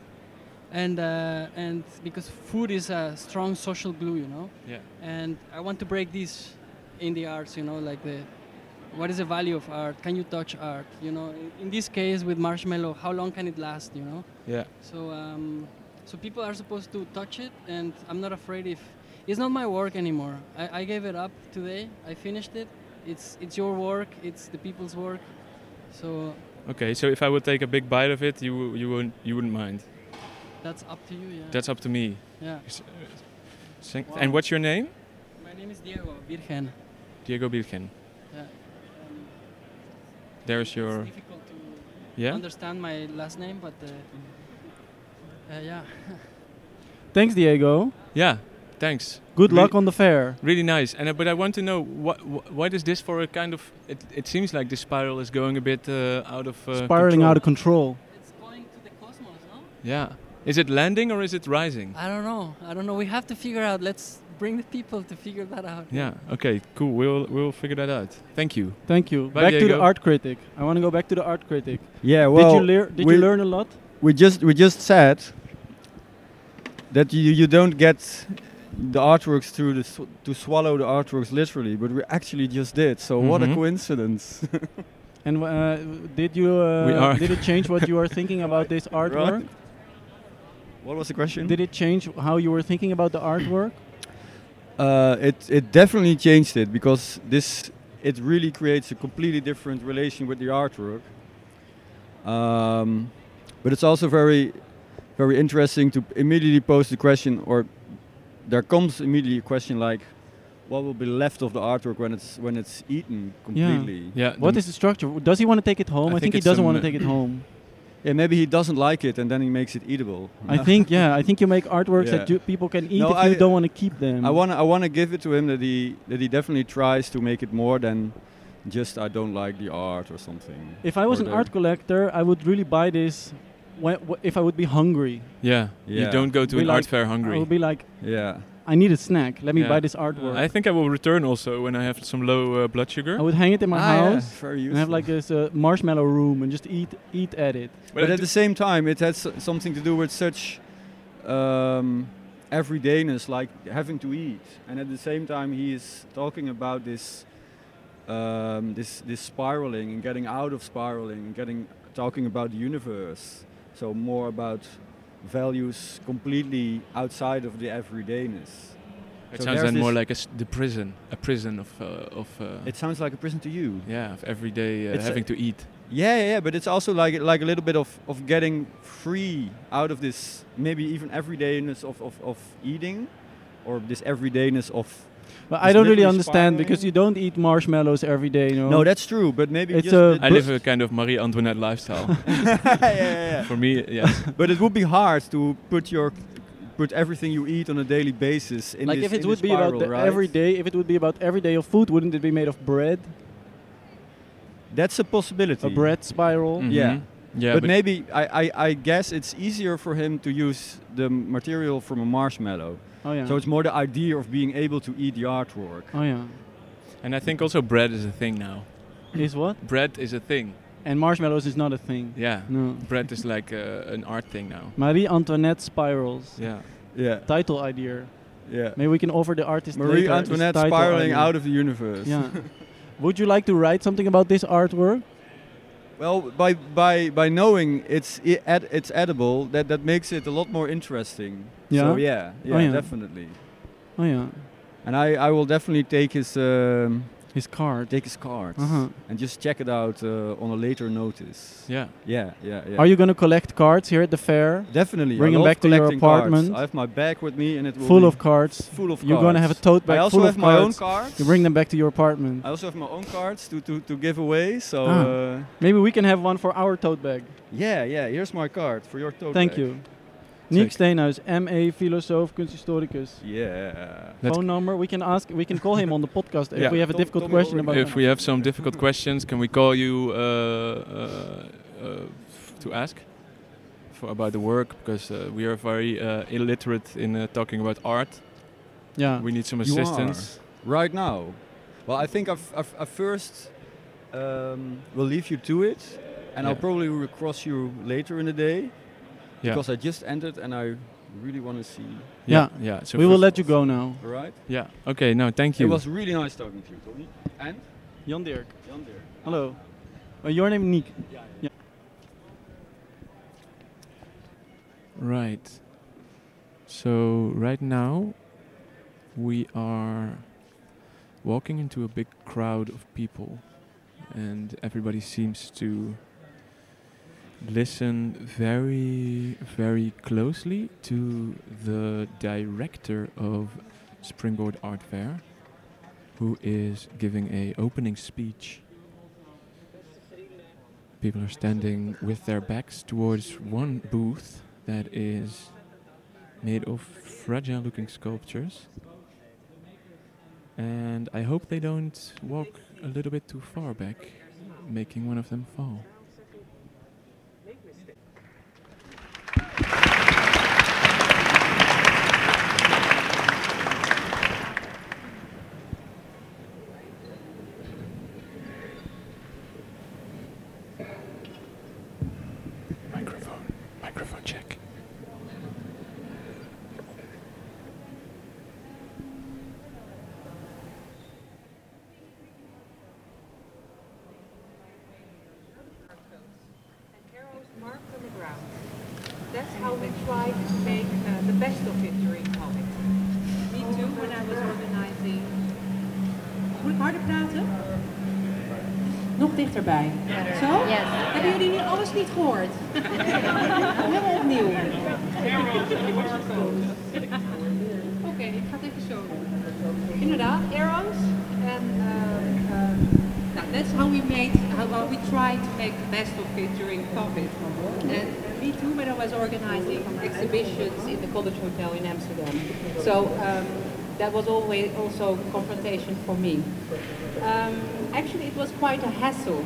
[SPEAKER 8] and uh, and because food is a strong social glue, you know.
[SPEAKER 3] yeah.
[SPEAKER 8] and I want to break this in the arts. You know, like the what is the value of art? Can you touch art? You know, in, in this case with marshmallow, how long can it last? You know,
[SPEAKER 3] Yeah.
[SPEAKER 8] so um, so people are supposed to touch it, and I'm not afraid if it's not my work anymore. I, I gave it up today. I finished it. It's it's your work. It's the people's work. So
[SPEAKER 3] Okay, so if I would take a big bite of it, you you wouldn't you wouldn't mind.
[SPEAKER 8] That's up to you, yeah.
[SPEAKER 3] That's up to me. uh,
[SPEAKER 8] yeah.
[SPEAKER 3] Sing-
[SPEAKER 8] Wow.
[SPEAKER 3] And what's your name?
[SPEAKER 8] My name is Diego Virgen.
[SPEAKER 3] Diego Birken.
[SPEAKER 8] Yeah.
[SPEAKER 3] There's your
[SPEAKER 8] It's difficult to
[SPEAKER 3] yeah.
[SPEAKER 8] understand my last name, but uh, uh, yeah.
[SPEAKER 1] Thanks, Diego.
[SPEAKER 3] Yeah. Thanks.
[SPEAKER 1] Good
[SPEAKER 3] Really-
[SPEAKER 1] luck on the fair.
[SPEAKER 3] Really nice. And uh, but I want to know what wh- what is this for a kind of? It, it seems like this spiral is going a bit uh, out of uh,
[SPEAKER 1] Spiraling out of control.
[SPEAKER 8] It's going to the cosmos, no?
[SPEAKER 3] Yeah. Is it landing or is it rising?
[SPEAKER 8] I don't know. I don't know. We have to figure out. Let's bring the people to figure that out.
[SPEAKER 3] Yeah. Okay. Cool. We'll we'll figure that out. Thank you.
[SPEAKER 1] Thank you.
[SPEAKER 3] Bye,
[SPEAKER 1] back to the
[SPEAKER 3] Diego.
[SPEAKER 1] art critic. I want to go back to the art critic.
[SPEAKER 7] Yeah, well,
[SPEAKER 1] did you, lear- did you
[SPEAKER 7] we-
[SPEAKER 1] learn a lot?
[SPEAKER 7] we just we just said that you you don't get the artworks through the sw- to swallow the artworks literally, but we actually just did. So what a
[SPEAKER 1] Mm-hmm.
[SPEAKER 3] Mhm.
[SPEAKER 7] coincidence!
[SPEAKER 1] And uh, did you
[SPEAKER 3] We
[SPEAKER 1] uh,
[SPEAKER 3] are-
[SPEAKER 1] did it change what you were thinking about this artwork?
[SPEAKER 7] what was the question?
[SPEAKER 1] Did it change how you were thinking about the artwork?
[SPEAKER 7] Uh, it it definitely changed it because this it really creates a completely different relation with the artwork. Um, but it's also very very interesting to immediately pose the question, or there comes immediately a question like, what will be left of the artwork when it's when it's eaten completely?
[SPEAKER 3] Yeah.
[SPEAKER 1] What
[SPEAKER 3] the-
[SPEAKER 1] is the structure? Does he want to take it home? I,
[SPEAKER 3] I think
[SPEAKER 1] think, he
[SPEAKER 3] it's a
[SPEAKER 1] doesn't want to
[SPEAKER 3] ma-
[SPEAKER 1] take it home.
[SPEAKER 7] Yeah, maybe he doesn't like it, and then he makes it eatable.
[SPEAKER 1] I think yeah. I think you make artworks
[SPEAKER 7] Yeah.
[SPEAKER 1] that you, people can eat
[SPEAKER 7] No,
[SPEAKER 1] if you
[SPEAKER 7] I-
[SPEAKER 1] don't want to keep them.
[SPEAKER 7] I want to I want to give it to him that he that he definitely tries to make it more than just I don't like the art or something.
[SPEAKER 1] if I was
[SPEAKER 7] or
[SPEAKER 1] an
[SPEAKER 7] the-
[SPEAKER 1] art collector, I would really buy this. When, w- if I would be hungry,
[SPEAKER 3] yeah. You
[SPEAKER 7] Yeah.
[SPEAKER 3] don't go to
[SPEAKER 1] We
[SPEAKER 3] an art
[SPEAKER 1] like-
[SPEAKER 3] fair
[SPEAKER 1] I
[SPEAKER 3] hungry.
[SPEAKER 1] would be like,
[SPEAKER 7] Yeah.
[SPEAKER 1] I need a snack. Let me
[SPEAKER 3] Yeah.
[SPEAKER 1] buy this artwork.
[SPEAKER 3] I think I will return also when I have some low uh, blood sugar.
[SPEAKER 1] I would hang it in my house
[SPEAKER 7] Ah, Very
[SPEAKER 1] and have like this uh, marshmallow room and just eat eat at it.
[SPEAKER 7] but
[SPEAKER 3] I
[SPEAKER 7] at
[SPEAKER 3] do-
[SPEAKER 7] the same time, it has s- something to do with such um, everydayness, like having to eat. And at the same time, he is talking about this, um, this, this spiraling and getting out of spiraling and getting talking about the universe. So more about values completely outside of the everydayness.
[SPEAKER 3] it sounds
[SPEAKER 7] so there's
[SPEAKER 3] then more
[SPEAKER 7] this-
[SPEAKER 3] like a s the prison, a prison of uh, of uh,
[SPEAKER 7] It sounds like a prison to you.
[SPEAKER 3] yeah of every day uh,
[SPEAKER 7] It's a-
[SPEAKER 3] having to eat.
[SPEAKER 7] Yeah, yeah, yeah, but it's also like like a little bit of, of getting free out of this maybe even everydayness of, of, of eating or this everydayness of
[SPEAKER 1] But I
[SPEAKER 7] It's
[SPEAKER 1] don't really
[SPEAKER 7] literally
[SPEAKER 1] understand because
[SPEAKER 7] spiraling.
[SPEAKER 1] you don't eat marshmallows every day. You know?
[SPEAKER 7] No, that's true, but maybe
[SPEAKER 1] It's
[SPEAKER 7] just
[SPEAKER 1] a-
[SPEAKER 7] it-
[SPEAKER 3] I
[SPEAKER 1] But-
[SPEAKER 3] live a kind of Marie Antoinette lifestyle.
[SPEAKER 7] yeah, yeah,
[SPEAKER 3] For me, yeah.
[SPEAKER 7] yeah. But it would be hard to put your put everything you eat on a daily basis in
[SPEAKER 1] like
[SPEAKER 7] this
[SPEAKER 1] if it
[SPEAKER 7] in
[SPEAKER 1] would
[SPEAKER 7] this
[SPEAKER 1] be
[SPEAKER 7] spiral,
[SPEAKER 1] about the
[SPEAKER 7] right?
[SPEAKER 1] every day, if it would be about every day of food, wouldn't it be made of bread?
[SPEAKER 7] That's a possibility.
[SPEAKER 1] A bread spiral.
[SPEAKER 3] Mhm.
[SPEAKER 7] Yeah.
[SPEAKER 3] Yeah.
[SPEAKER 7] but, maybe I, I, I guess it's easier for him to use the material from a marshmallow.
[SPEAKER 1] Oh yeah.
[SPEAKER 7] So it's more the idea of being able to eat the artwork.
[SPEAKER 1] oh yeah.
[SPEAKER 3] and I think also bread is a thing now.
[SPEAKER 1] Is what?
[SPEAKER 3] Bread is a thing.
[SPEAKER 1] And marshmallows is not a thing.
[SPEAKER 3] Yeah.
[SPEAKER 1] No.
[SPEAKER 3] Bread is like uh, an art thing now.
[SPEAKER 1] Marie Antoinette spirals.
[SPEAKER 3] Yeah.
[SPEAKER 7] Yeah,
[SPEAKER 1] Title idea.
[SPEAKER 7] yeah.
[SPEAKER 1] Maybe we can offer the artist.
[SPEAKER 7] Marie
[SPEAKER 1] later,
[SPEAKER 7] Antoinette spiraling out of the universe.
[SPEAKER 1] Yeah. would you like to write something about this artwork?
[SPEAKER 7] Well, by by by knowing it's I- ed- it's edible, that that makes it a lot more interesting.
[SPEAKER 1] Yeah?
[SPEAKER 7] So yeah, yeah,
[SPEAKER 1] yeah.
[SPEAKER 7] definitely.
[SPEAKER 1] Oh yeah.
[SPEAKER 7] And I I will definitely take his um,
[SPEAKER 1] His card.
[SPEAKER 7] take his cards
[SPEAKER 1] Uh-huh.
[SPEAKER 7] and just check it out uh, on a later notice.
[SPEAKER 3] Yeah.
[SPEAKER 7] Yeah, yeah, yeah.
[SPEAKER 1] Are you gonna collect cards here at the fair?
[SPEAKER 7] definitely I
[SPEAKER 1] bring him
[SPEAKER 7] love
[SPEAKER 1] back to your
[SPEAKER 7] collecting cards.
[SPEAKER 1] apartment?
[SPEAKER 7] I have my bag with me, and it will
[SPEAKER 1] Full
[SPEAKER 7] be
[SPEAKER 1] of cards.
[SPEAKER 7] full of.
[SPEAKER 1] You're gonna have a
[SPEAKER 7] cards.
[SPEAKER 1] tote bag
[SPEAKER 7] I also
[SPEAKER 1] full
[SPEAKER 7] have
[SPEAKER 1] of
[SPEAKER 7] my own
[SPEAKER 1] cards.
[SPEAKER 7] cards.
[SPEAKER 1] You bring them back to your apartment.
[SPEAKER 7] I also have my own cards to to, to give away. So
[SPEAKER 1] Ah.
[SPEAKER 7] uh,
[SPEAKER 1] Maybe we can have one for our tote bag.
[SPEAKER 7] yeah, yeah. Here's my card for your tote.
[SPEAKER 1] Thank
[SPEAKER 7] bag.
[SPEAKER 1] you. Niek Steenhuis, MA, filosoof, kunsthistoricus.
[SPEAKER 7] Yeah.
[SPEAKER 3] Let's-
[SPEAKER 1] Phone number. We can ask. We can call him on the podcast if
[SPEAKER 3] Yeah.
[SPEAKER 1] we have a
[SPEAKER 7] Tom-
[SPEAKER 1] difficult
[SPEAKER 7] Tommy
[SPEAKER 1] question about.
[SPEAKER 7] Ulrich.
[SPEAKER 3] If we have some difficult questions, can we call you uh, uh, uh, f- to ask for about the work? Because uh, we are very uh, illiterate in uh, talking about art.
[SPEAKER 1] yeah.
[SPEAKER 3] We need some
[SPEAKER 7] You are.
[SPEAKER 3] assistance.
[SPEAKER 7] Right now. Well, I think I've, I've, I first um, will leave you to it, and I'll
[SPEAKER 3] Yeah.
[SPEAKER 7] probably recross you later in the day
[SPEAKER 3] Yeah.
[SPEAKER 7] because I just ended and I really want to see.
[SPEAKER 3] Yeah. Yeah. So
[SPEAKER 1] we will
[SPEAKER 3] first-
[SPEAKER 1] let you go now.
[SPEAKER 7] All right.
[SPEAKER 3] Yeah. Okay. No. Thank you.
[SPEAKER 7] It was really nice talking to you, Tommy. And
[SPEAKER 1] Jan Dirk.
[SPEAKER 7] Jan there.
[SPEAKER 1] Hallo. Uh, your name Niek.
[SPEAKER 3] Right. So right now we are walking into a big crowd of people and everybody seems to listen very, very closely to the director of Springboard Art Fair, who is giving a opening speech. People are standing with their backs towards one booth that is made of fragile looking sculptures. And I hope they don't walk a little bit too far back, making one of them fall. Microphone, microphone check.
[SPEAKER 9] arrows marked on the ground. That's how we try to make uh, the best of victory comic. Me too, when I was organizing. Moet ik harder praten? Nog dichterbij. Zo? Hebben jullie nu alles niet gehoord? Helemaal opnieuw. Oké, ik ga het even zo doen. Inderdaad, arrows. En eh, eh, nou, that's how we made, how, how we try to make the best of it during COVID. And me too, when I was organizing exhibitions in the College Hotel in Amsterdam. So um, that was always also confrontation for me. Um, actually, it was quite a hassle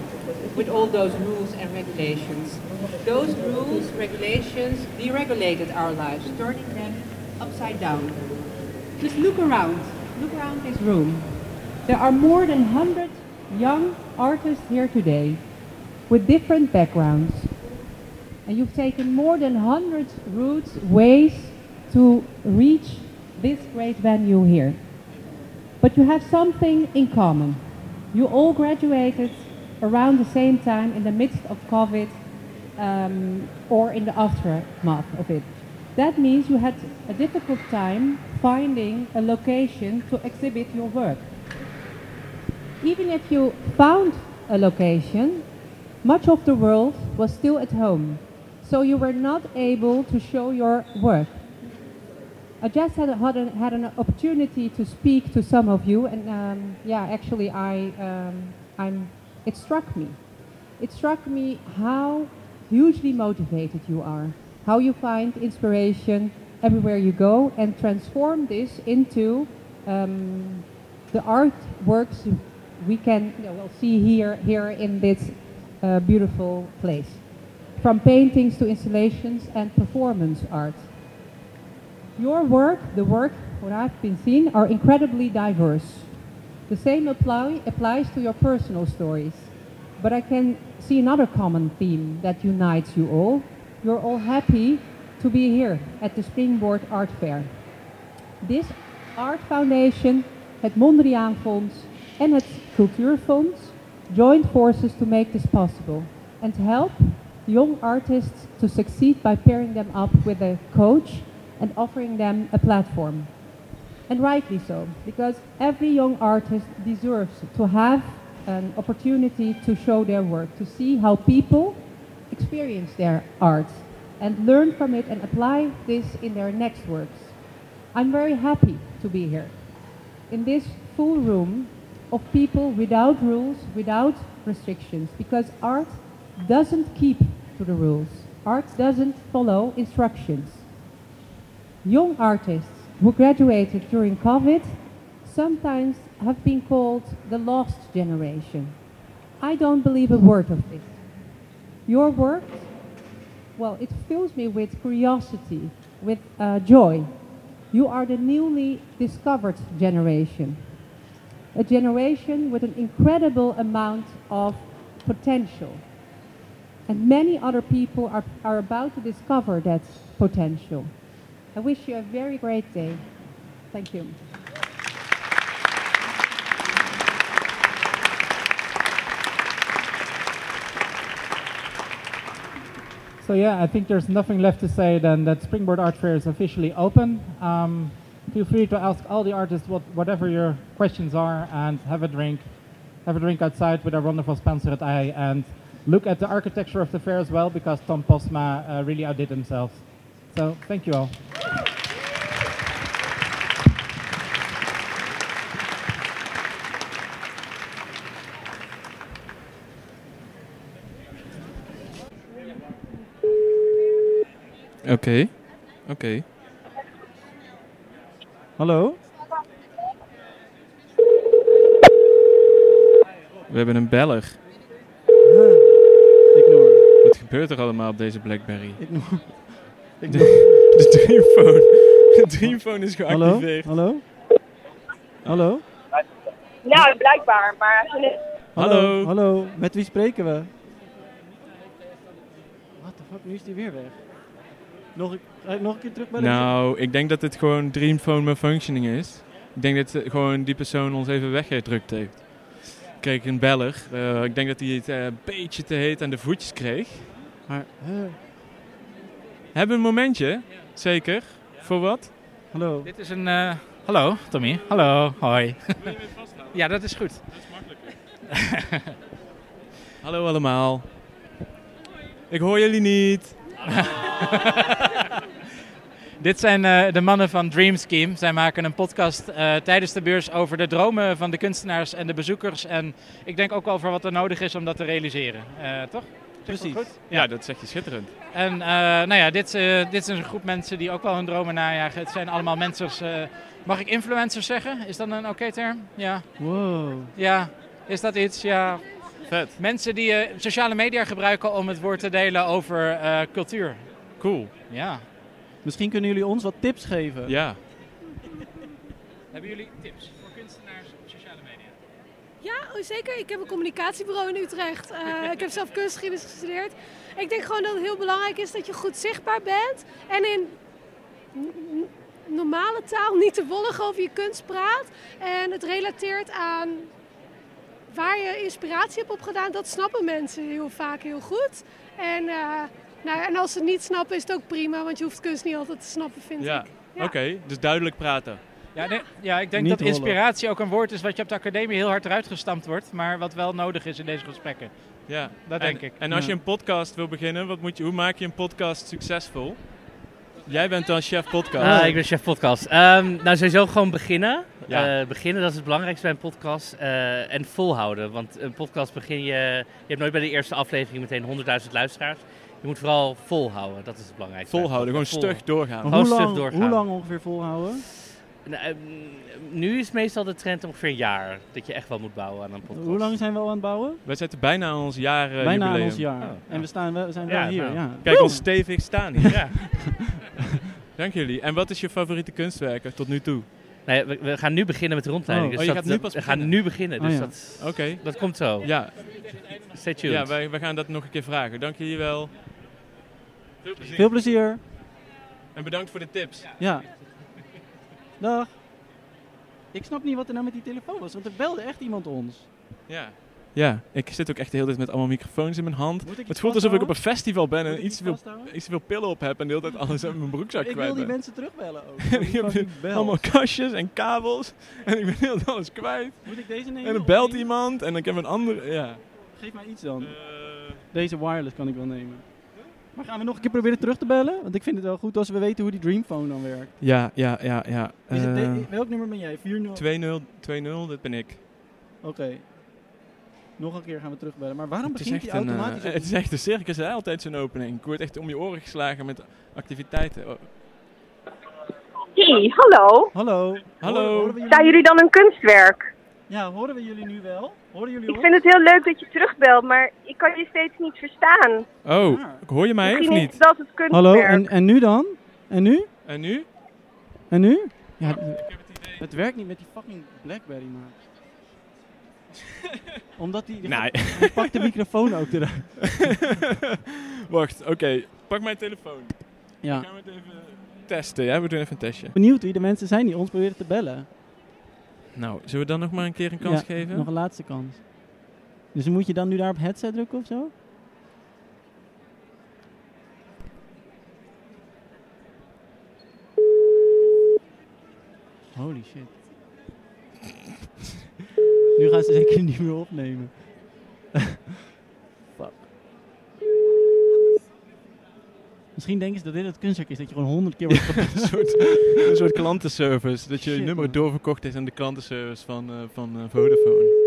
[SPEAKER 9] with all those rules and regulations. Those rules, regulations, deregulated our lives, turning them upside down. Just look around. Look around this room. There are more than 100 young artists here today with different backgrounds. And you've taken more than 100 routes, ways to reach this great venue here. But you have something in common. You all graduated around the same time in the midst of COVID um, or in the aftermath of it. That means you had a difficult time finding a location to exhibit your work. Even if you found a location, much of the world was still at home, so you were not able to show your work. I just had, had, an, had an opportunity to speak to some of you, and um, yeah, actually, I, um, I'm, it struck me. It struck me how hugely motivated you are, how you find inspiration everywhere you go, and transform this into um, the artworks we can you know, well, see here, here in this uh, beautiful place. From paintings to installations and performance art. Your work, the work what I've been seeing, are incredibly diverse. The same apply, applies to your personal stories. But I can see another common theme that unites you all. You're all happy to be here at the Springboard Art Fair. This Art Foundation, het Mondriaan Fonds en het Cultuurfonds joined forces to make this possible and help young artists to succeed by pairing them up with a coach and offering them a platform. And rightly so, because every young artist deserves to have an opportunity to show their work, to see how people experience their art and learn from it and apply this in their next works. I'm very happy to be here in this full room of people without rules, without restrictions, because art doesn't keep to the rules. Art doesn't follow instructions. Young artists who graduated during COVID sometimes have been called the lost generation. I don't believe a word of this. Your work, well, it fills me with curiosity, with uh, joy. You are the newly discovered generation, a generation with an incredible amount of potential. And many other people are, are about to discover that potential. I wish you a very great day. Thank you.
[SPEAKER 10] So yeah, I think there's nothing left to say than that Springboard Art Fair is officially open. Um, feel free to ask all the artists what, whatever your questions are and have a drink. Have a drink outside with our wonderful sponsor at I and look at the architecture of the fair as well, because Tom Posma uh, really outdid themselves. So thank you all.
[SPEAKER 3] Oké. Oké.
[SPEAKER 1] Hallo?
[SPEAKER 3] We hebben een beller.
[SPEAKER 1] Ignore.
[SPEAKER 3] Wat gebeurt er allemaal op deze Blackberry?
[SPEAKER 1] Ignore.
[SPEAKER 3] De Dreamphone. De Dreamphone is
[SPEAKER 1] Hallo?
[SPEAKER 3] geactiveerd.
[SPEAKER 1] Hallo? Hallo?
[SPEAKER 11] Nou, blijkbaar, maar ze is
[SPEAKER 3] Hallo.
[SPEAKER 1] Hallo, met wie spreken we? What the fuck, nu is die weer weg. Nog een, ga ik nog een keer terugbellen?
[SPEAKER 3] Nou, ik denk dat dit gewoon Dreamphone malfunctioning is. Ik denk dat eh, gewoon die persoon ons even weggedrukt heeft. Ik kreeg een beller. Eh, ik denk dat hij het eh, een beetje te heet aan de voetjes kreeg. eh,
[SPEAKER 1] Maar, hè?
[SPEAKER 3] Hebben we een momentje? Zeker. Voor wat?
[SPEAKER 1] hallo.
[SPEAKER 12] Dit is een. eh, hallo, Tommy. Hallo, hoi. ja, dat is goed.
[SPEAKER 3] Hallo allemaal. Ik hoor jullie niet.
[SPEAKER 12] Dit zijn eh, de mannen van Dream Scheme. Zij maken een podcast eh, tijdens de beurs over de dromen van de kunstenaars en de bezoekers. En ik denk ook over wat er nodig is om dat te realiseren. Eh, toch? Zeg ik dat
[SPEAKER 3] Precies.
[SPEAKER 12] goed?
[SPEAKER 3] Ja, dat zeg je schitterend.
[SPEAKER 12] En eh, nou ja, dit, eh, dit is een groep mensen die ook wel hun dromen najagen. Het zijn allemaal mensers. eh, mag ik influencers zeggen? Is dat een oké term? Ja.
[SPEAKER 1] Wow.
[SPEAKER 12] Ja, is dat iets? Ja.
[SPEAKER 3] Vet.
[SPEAKER 12] Mensen die eh, sociale media gebruiken om het woord te delen over eh, cultuur.
[SPEAKER 3] Cool.
[SPEAKER 12] Ja.
[SPEAKER 1] Misschien kunnen jullie ons wat tips geven.
[SPEAKER 3] Ja.
[SPEAKER 12] Hebben jullie tips voor kunstenaars op sociale media?
[SPEAKER 13] Ja, oh, zeker. Ik heb een communicatiebureau in Utrecht. Eh, ik heb zelf kunstgeschiedenis gestudeerd. Ik denk gewoon dat het heel belangrijk is dat je goed zichtbaar bent. En in n- n- normale taal niet te wollig over je kunst praat. En het relateert aan waar je inspiratie hebt opgedaan. Dat snappen mensen heel vaak heel goed. En, eh, nou, ja, en als ze het niet snappen is het ook prima. Want je hoeft kunst niet altijd te snappen, vind
[SPEAKER 3] Ja.
[SPEAKER 13] ik.
[SPEAKER 3] Oké, dus duidelijk praten.
[SPEAKER 12] Ja, nee, ja ik denk
[SPEAKER 3] Niet
[SPEAKER 12] dat
[SPEAKER 3] rollen.
[SPEAKER 12] inspiratie ook een woord is wat je op de academie heel hard eruit gestampt wordt. Maar wat wel nodig is in deze gesprekken.
[SPEAKER 3] Ja,
[SPEAKER 12] Dat
[SPEAKER 3] en,
[SPEAKER 12] denk ik.
[SPEAKER 3] En als
[SPEAKER 12] Ja.
[SPEAKER 3] je een podcast wil beginnen, wat moet je, hoe maak je een podcast succesvol? Jij bent dan chef podcast.
[SPEAKER 14] Ah, ik ben chef podcast. Ehm, nou, sowieso gewoon beginnen.
[SPEAKER 3] Ja.
[SPEAKER 14] Eh, beginnen, dat is het belangrijkste bij een podcast. Eh, en volhouden. Want een podcast begin je... Je hebt nooit bij de eerste aflevering meteen 100.000 luisteraars. Je moet vooral volhouden. Dat is het belangrijkste.
[SPEAKER 3] Volhouden, gewoon stug doorgaan.
[SPEAKER 14] Gewoon
[SPEAKER 1] Maar hoe,
[SPEAKER 14] stug
[SPEAKER 1] lang,
[SPEAKER 14] doorgaan.
[SPEAKER 1] hoe lang ongeveer volhouden?
[SPEAKER 14] Nou, ehm, nu is meestal de trend ongeveer een jaar. Dat je echt wel moet bouwen aan een podcast.
[SPEAKER 1] Hoe lang zijn we al aan het bouwen?
[SPEAKER 3] Wij zitten bijna aan ons jaar eh,
[SPEAKER 1] Bijna aan
[SPEAKER 3] jubileum.
[SPEAKER 1] ons jaar.
[SPEAKER 14] Oh.
[SPEAKER 1] En we staan wel, zijn wel
[SPEAKER 3] Ja,
[SPEAKER 1] hier.
[SPEAKER 3] nou.
[SPEAKER 1] Ja.
[SPEAKER 3] Kijk
[SPEAKER 1] Woe!
[SPEAKER 3] ons stevig staan hier. Dank jullie. En wat is je favoriete kunstwerker tot nu toe?
[SPEAKER 14] Nee, we, we gaan nu beginnen met de rondleiding.
[SPEAKER 3] Oh.
[SPEAKER 14] dus
[SPEAKER 3] Oh, je
[SPEAKER 14] dat,
[SPEAKER 3] gaat nu
[SPEAKER 14] dat-
[SPEAKER 3] pas
[SPEAKER 14] we gaan nu beginnen. Dus
[SPEAKER 3] Oh, ja.
[SPEAKER 14] dat,
[SPEAKER 3] Oké.
[SPEAKER 14] dat komt zo.
[SPEAKER 3] Ja.
[SPEAKER 14] Stay tuned.
[SPEAKER 3] Ja, wij, wij gaan dat nog een keer vragen. Dank jullie wel. Veel plezier.
[SPEAKER 1] Veel plezier.
[SPEAKER 3] En bedankt voor de tips.
[SPEAKER 1] Ja. Dag. Ik snap niet wat er nou met die telefoon was, want er belde echt iemand ons.
[SPEAKER 3] Ja. Ja, ik zit ook echt de hele tijd met allemaal microfoons in mijn hand.
[SPEAKER 1] Moet ik
[SPEAKER 3] Het
[SPEAKER 1] iets
[SPEAKER 3] voelt alsof ik op een
[SPEAKER 1] vasthouden?
[SPEAKER 3] festival ben
[SPEAKER 1] Moet
[SPEAKER 3] en
[SPEAKER 1] ik
[SPEAKER 3] iets
[SPEAKER 1] iets
[SPEAKER 3] te veel,
[SPEAKER 1] vasthouden?
[SPEAKER 3] iets te veel pillen op heb en de hele tijd alles uit mijn broekzak
[SPEAKER 1] ik
[SPEAKER 3] kwijt
[SPEAKER 1] wil die
[SPEAKER 3] ben.
[SPEAKER 1] mensen terugbellen ook.
[SPEAKER 3] En ik heb allemaal kastjes en kabels. En ik ben heel alles kwijt.
[SPEAKER 1] Moet ik deze nemen?
[SPEAKER 3] En dan
[SPEAKER 1] of
[SPEAKER 3] belt
[SPEAKER 1] die?
[SPEAKER 3] iemand en ik heb een andere. Ja. Eh,
[SPEAKER 1] Geef mij iets dan. Deze wireless kan ik wel nemen. Maar gaan we nog een keer proberen terug te bellen? Want ik vind het wel goed als we weten hoe die Dreamphone dan werkt.
[SPEAKER 3] Ja, ja, ja, ja. Ehm,
[SPEAKER 1] Is het de-
[SPEAKER 3] Eh.
[SPEAKER 1] welk nummer ben jij? 40?
[SPEAKER 3] 2-0, 2-0, dat ben ik.
[SPEAKER 1] Oké. Nog een keer gaan we terugbellen. Maar waarom
[SPEAKER 3] Het is,
[SPEAKER 1] begint
[SPEAKER 3] echt
[SPEAKER 1] die
[SPEAKER 3] een, eh,
[SPEAKER 1] automatisch? op-
[SPEAKER 3] het is echt een circus, hè? Altijd zo'n opening. Ik word echt om je oren geslagen met activiteiten. Oh.
[SPEAKER 11] Hey, hallo.
[SPEAKER 1] Hallo.
[SPEAKER 3] Hallo.
[SPEAKER 11] Staan jullie dan een kunstwerk?
[SPEAKER 1] Ja, horen we jullie nu wel? Horen jullie
[SPEAKER 11] Ik vind het heel leuk dat je terugbelt, maar ik kan je steeds niet verstaan.
[SPEAKER 3] Oh, hoor je mij of
[SPEAKER 11] Ah. Misschien is
[SPEAKER 3] niet?
[SPEAKER 11] dat het
[SPEAKER 1] Ah.
[SPEAKER 11] kunstwerk.
[SPEAKER 1] Hallo, en, en nu dan? En nu?
[SPEAKER 3] En nu?
[SPEAKER 1] En nu? Ja,
[SPEAKER 3] Nou,
[SPEAKER 1] het werkt niet met die fucking Blackberry, man. Omdat die... die
[SPEAKER 3] Nee.
[SPEAKER 1] gaat- die pakt de microfoon ook eruit.
[SPEAKER 3] Wacht, oké. Pak mijn telefoon.
[SPEAKER 1] Ja.
[SPEAKER 3] Dan gaan we het even testen, ja? We doen even een testje.
[SPEAKER 1] Benieuwd wie de mensen zijn die ons proberen te bellen.
[SPEAKER 3] Nou, zullen we dan nog maar een keer een kans
[SPEAKER 1] Ja,
[SPEAKER 3] geven?
[SPEAKER 1] Nog een laatste kans. Dus moet je dan nu daar op headset drukken of zo? Holy shit. nu gaan ze zeker niet meer opnemen. Fuck. Misschien denken ze dat dit het kunstwerk is, dat je gewoon honderd keer wordt
[SPEAKER 3] een,
[SPEAKER 1] gepest.
[SPEAKER 3] soort, een soort klantenservice. Dat je
[SPEAKER 1] Shit,
[SPEAKER 3] nummer
[SPEAKER 1] man.
[SPEAKER 3] doorverkocht is aan de klantenservice van, eh, van eh, Vodafone.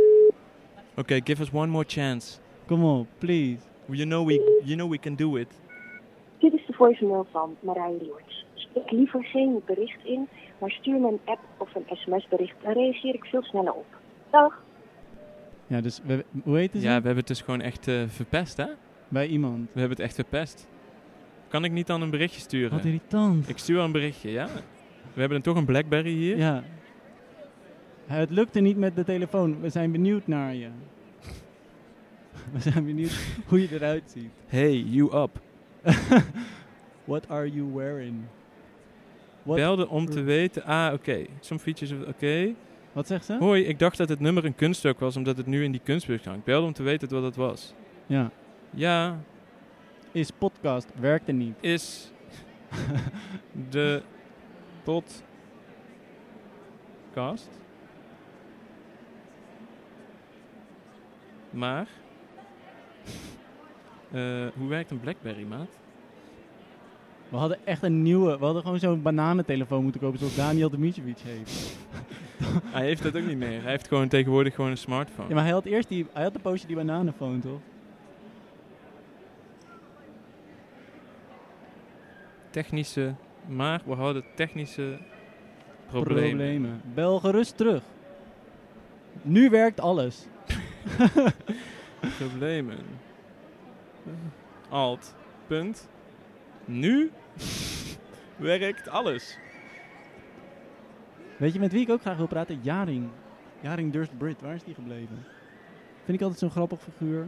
[SPEAKER 3] Oké, give us one more chance.
[SPEAKER 1] Come on, please.
[SPEAKER 3] You know we, you know we can do it.
[SPEAKER 15] Dit is de voicemail van Marije Loerts. Spreek liever geen bericht in, maar stuur me een app of een sms-bericht. Dan reageer ik veel sneller op. Dag.
[SPEAKER 1] Ja, dus we, hoe heet het?
[SPEAKER 3] Ja, we hebben het dus gewoon echt eh, verpest, hè?
[SPEAKER 1] Bij iemand.
[SPEAKER 3] We hebben het echt verpest. Kan ik niet dan een berichtje sturen?
[SPEAKER 1] Wat irritant.
[SPEAKER 3] Ik stuur een berichtje, ja? We hebben dan toch een Blackberry hier?
[SPEAKER 1] Ja. Het lukte niet met de telefoon. We zijn benieuwd naar je. We zijn benieuwd hoe je eruit ziet.
[SPEAKER 3] Hey, you up.
[SPEAKER 1] What are you wearing? What-
[SPEAKER 3] Belde om te weten. Ah, oké. Some features of. Oké.
[SPEAKER 1] Wat zegt ze?
[SPEAKER 3] Hoi, ik dacht dat het nummer een kunststuk was, omdat het nu in die kunstbeurs hangt. Belde om te weten wat het was.
[SPEAKER 1] Ja.
[SPEAKER 3] Ja.
[SPEAKER 1] Is podcast. Werkte niet.
[SPEAKER 3] Is de podcast Maar. eh, hoe werkt een Blackberry, maat?
[SPEAKER 1] We hadden echt een nieuwe. We hadden gewoon zo'n bananentelefoon moeten kopen zoals Daniel Dimitrovic heeft.
[SPEAKER 3] Hij heeft dat ook niet meer. Hij heeft gewoon tegenwoordig gewoon een smartphone.
[SPEAKER 1] Ja, maar hij had eerst die, hij had een poosje die bananenfoon, toch?
[SPEAKER 3] Technische. Maar we hadden technische problemen.
[SPEAKER 1] Problemen. Bel gerust terug. Nu werkt alles.
[SPEAKER 3] Problemen. Alt. Punt. Nu werkt alles.
[SPEAKER 1] Weet je met wie ik ook graag wil praten? Jaring. Jaring Durst Brit, waar is die gebleven? Vind ik altijd zo'n grappig figuur.